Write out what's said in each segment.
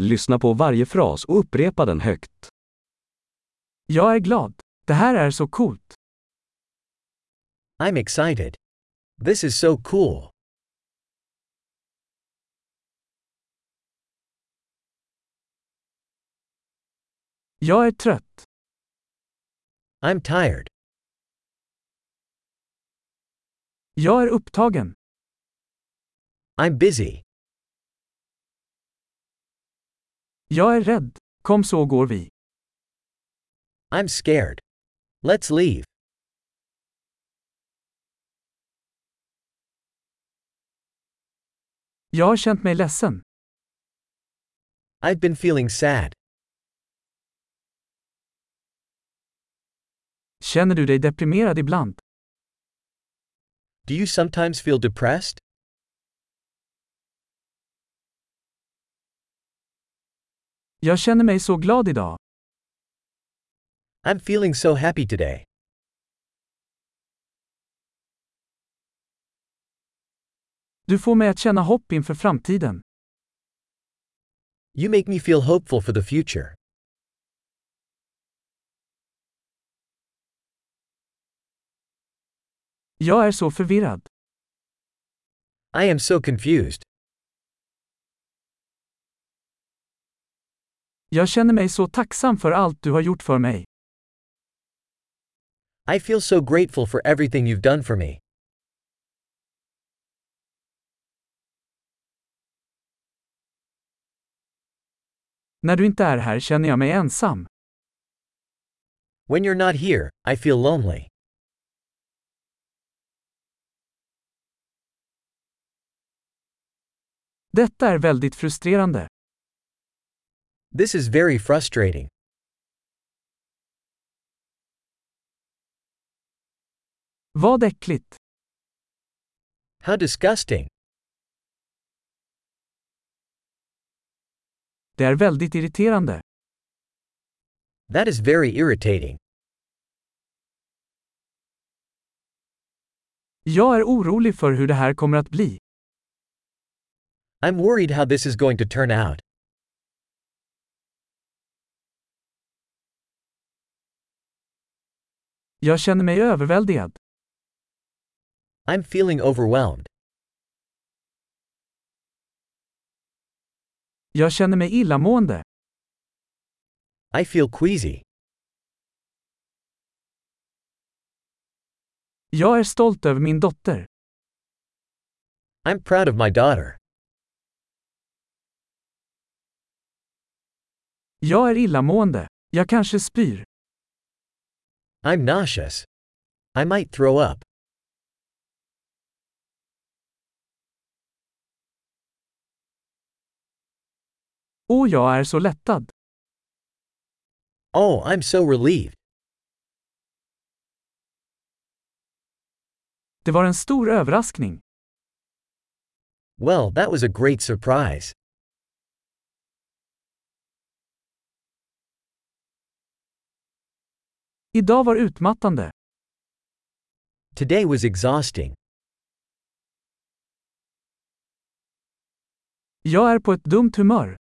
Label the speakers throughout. Speaker 1: Lyssna på varje fras och upprepa den högt.
Speaker 2: Jag är glad. Det här är så coolt.
Speaker 3: I'm excited. This is so cool.
Speaker 2: Jag är trött.
Speaker 3: I'm tired.
Speaker 2: Jag är upptagen.
Speaker 3: I'm busy.
Speaker 2: Jag är rädd. Kom så går vi.
Speaker 3: I'm scared. Let's leave.
Speaker 2: Jag har känt mig ledsen.
Speaker 3: I've been feeling sad.
Speaker 2: Känner du dig deprimerad ibland?
Speaker 3: Do you sometimes feel depressed?
Speaker 2: Jag känner mig så glad idag.
Speaker 3: I'm feeling so happy today.
Speaker 2: Du får mig att känna hopp inför framtiden.
Speaker 3: You make me feel hopeful for the future.
Speaker 2: Jag är så förvirrad.
Speaker 3: I am so confused.
Speaker 2: Jag känner mig så tacksam för allt du har gjort för mig.
Speaker 3: I feel so grateful for everything you've done for me.
Speaker 2: När du inte är här känner jag mig ensam.
Speaker 3: When you're not here, I feel lonely.
Speaker 2: Detta är väldigt frustrerande.
Speaker 3: This is very frustrating.
Speaker 2: Vad äckligt.
Speaker 3: How disgusting.
Speaker 2: Det är väldigt irriterande.
Speaker 3: That is very irritating.
Speaker 2: Jag är orolig för hur det här kommer att bli.
Speaker 3: I'm worried how this is going to turn out.
Speaker 2: Jag känner mig överväldigad.
Speaker 3: I'm feeling overwhelmed.
Speaker 2: Jag känner mig illamående.
Speaker 3: I feel queasy.
Speaker 2: Jag är stolt över min dotter.
Speaker 3: I'm proud of my daughter.
Speaker 2: Jag är illamående. Jag kanske spyr.
Speaker 3: I'm nauseous. I might throw up.
Speaker 2: Och jag är så lättad.
Speaker 3: Oh, I'm so relieved.
Speaker 2: Det var en stor överraskning.
Speaker 3: Well, that was a great surprise.
Speaker 2: Idag var utmattande.
Speaker 3: Today was exhausting.
Speaker 2: Jag är på ett dumt humör.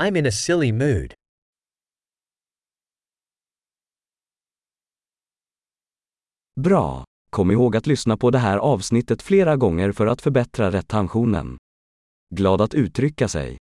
Speaker 3: I'm in a silly mood.
Speaker 1: Bra! Kom ihåg att lyssna på det här avsnittet flera gånger för att förbättra retentionen. Glad att uttrycka sig!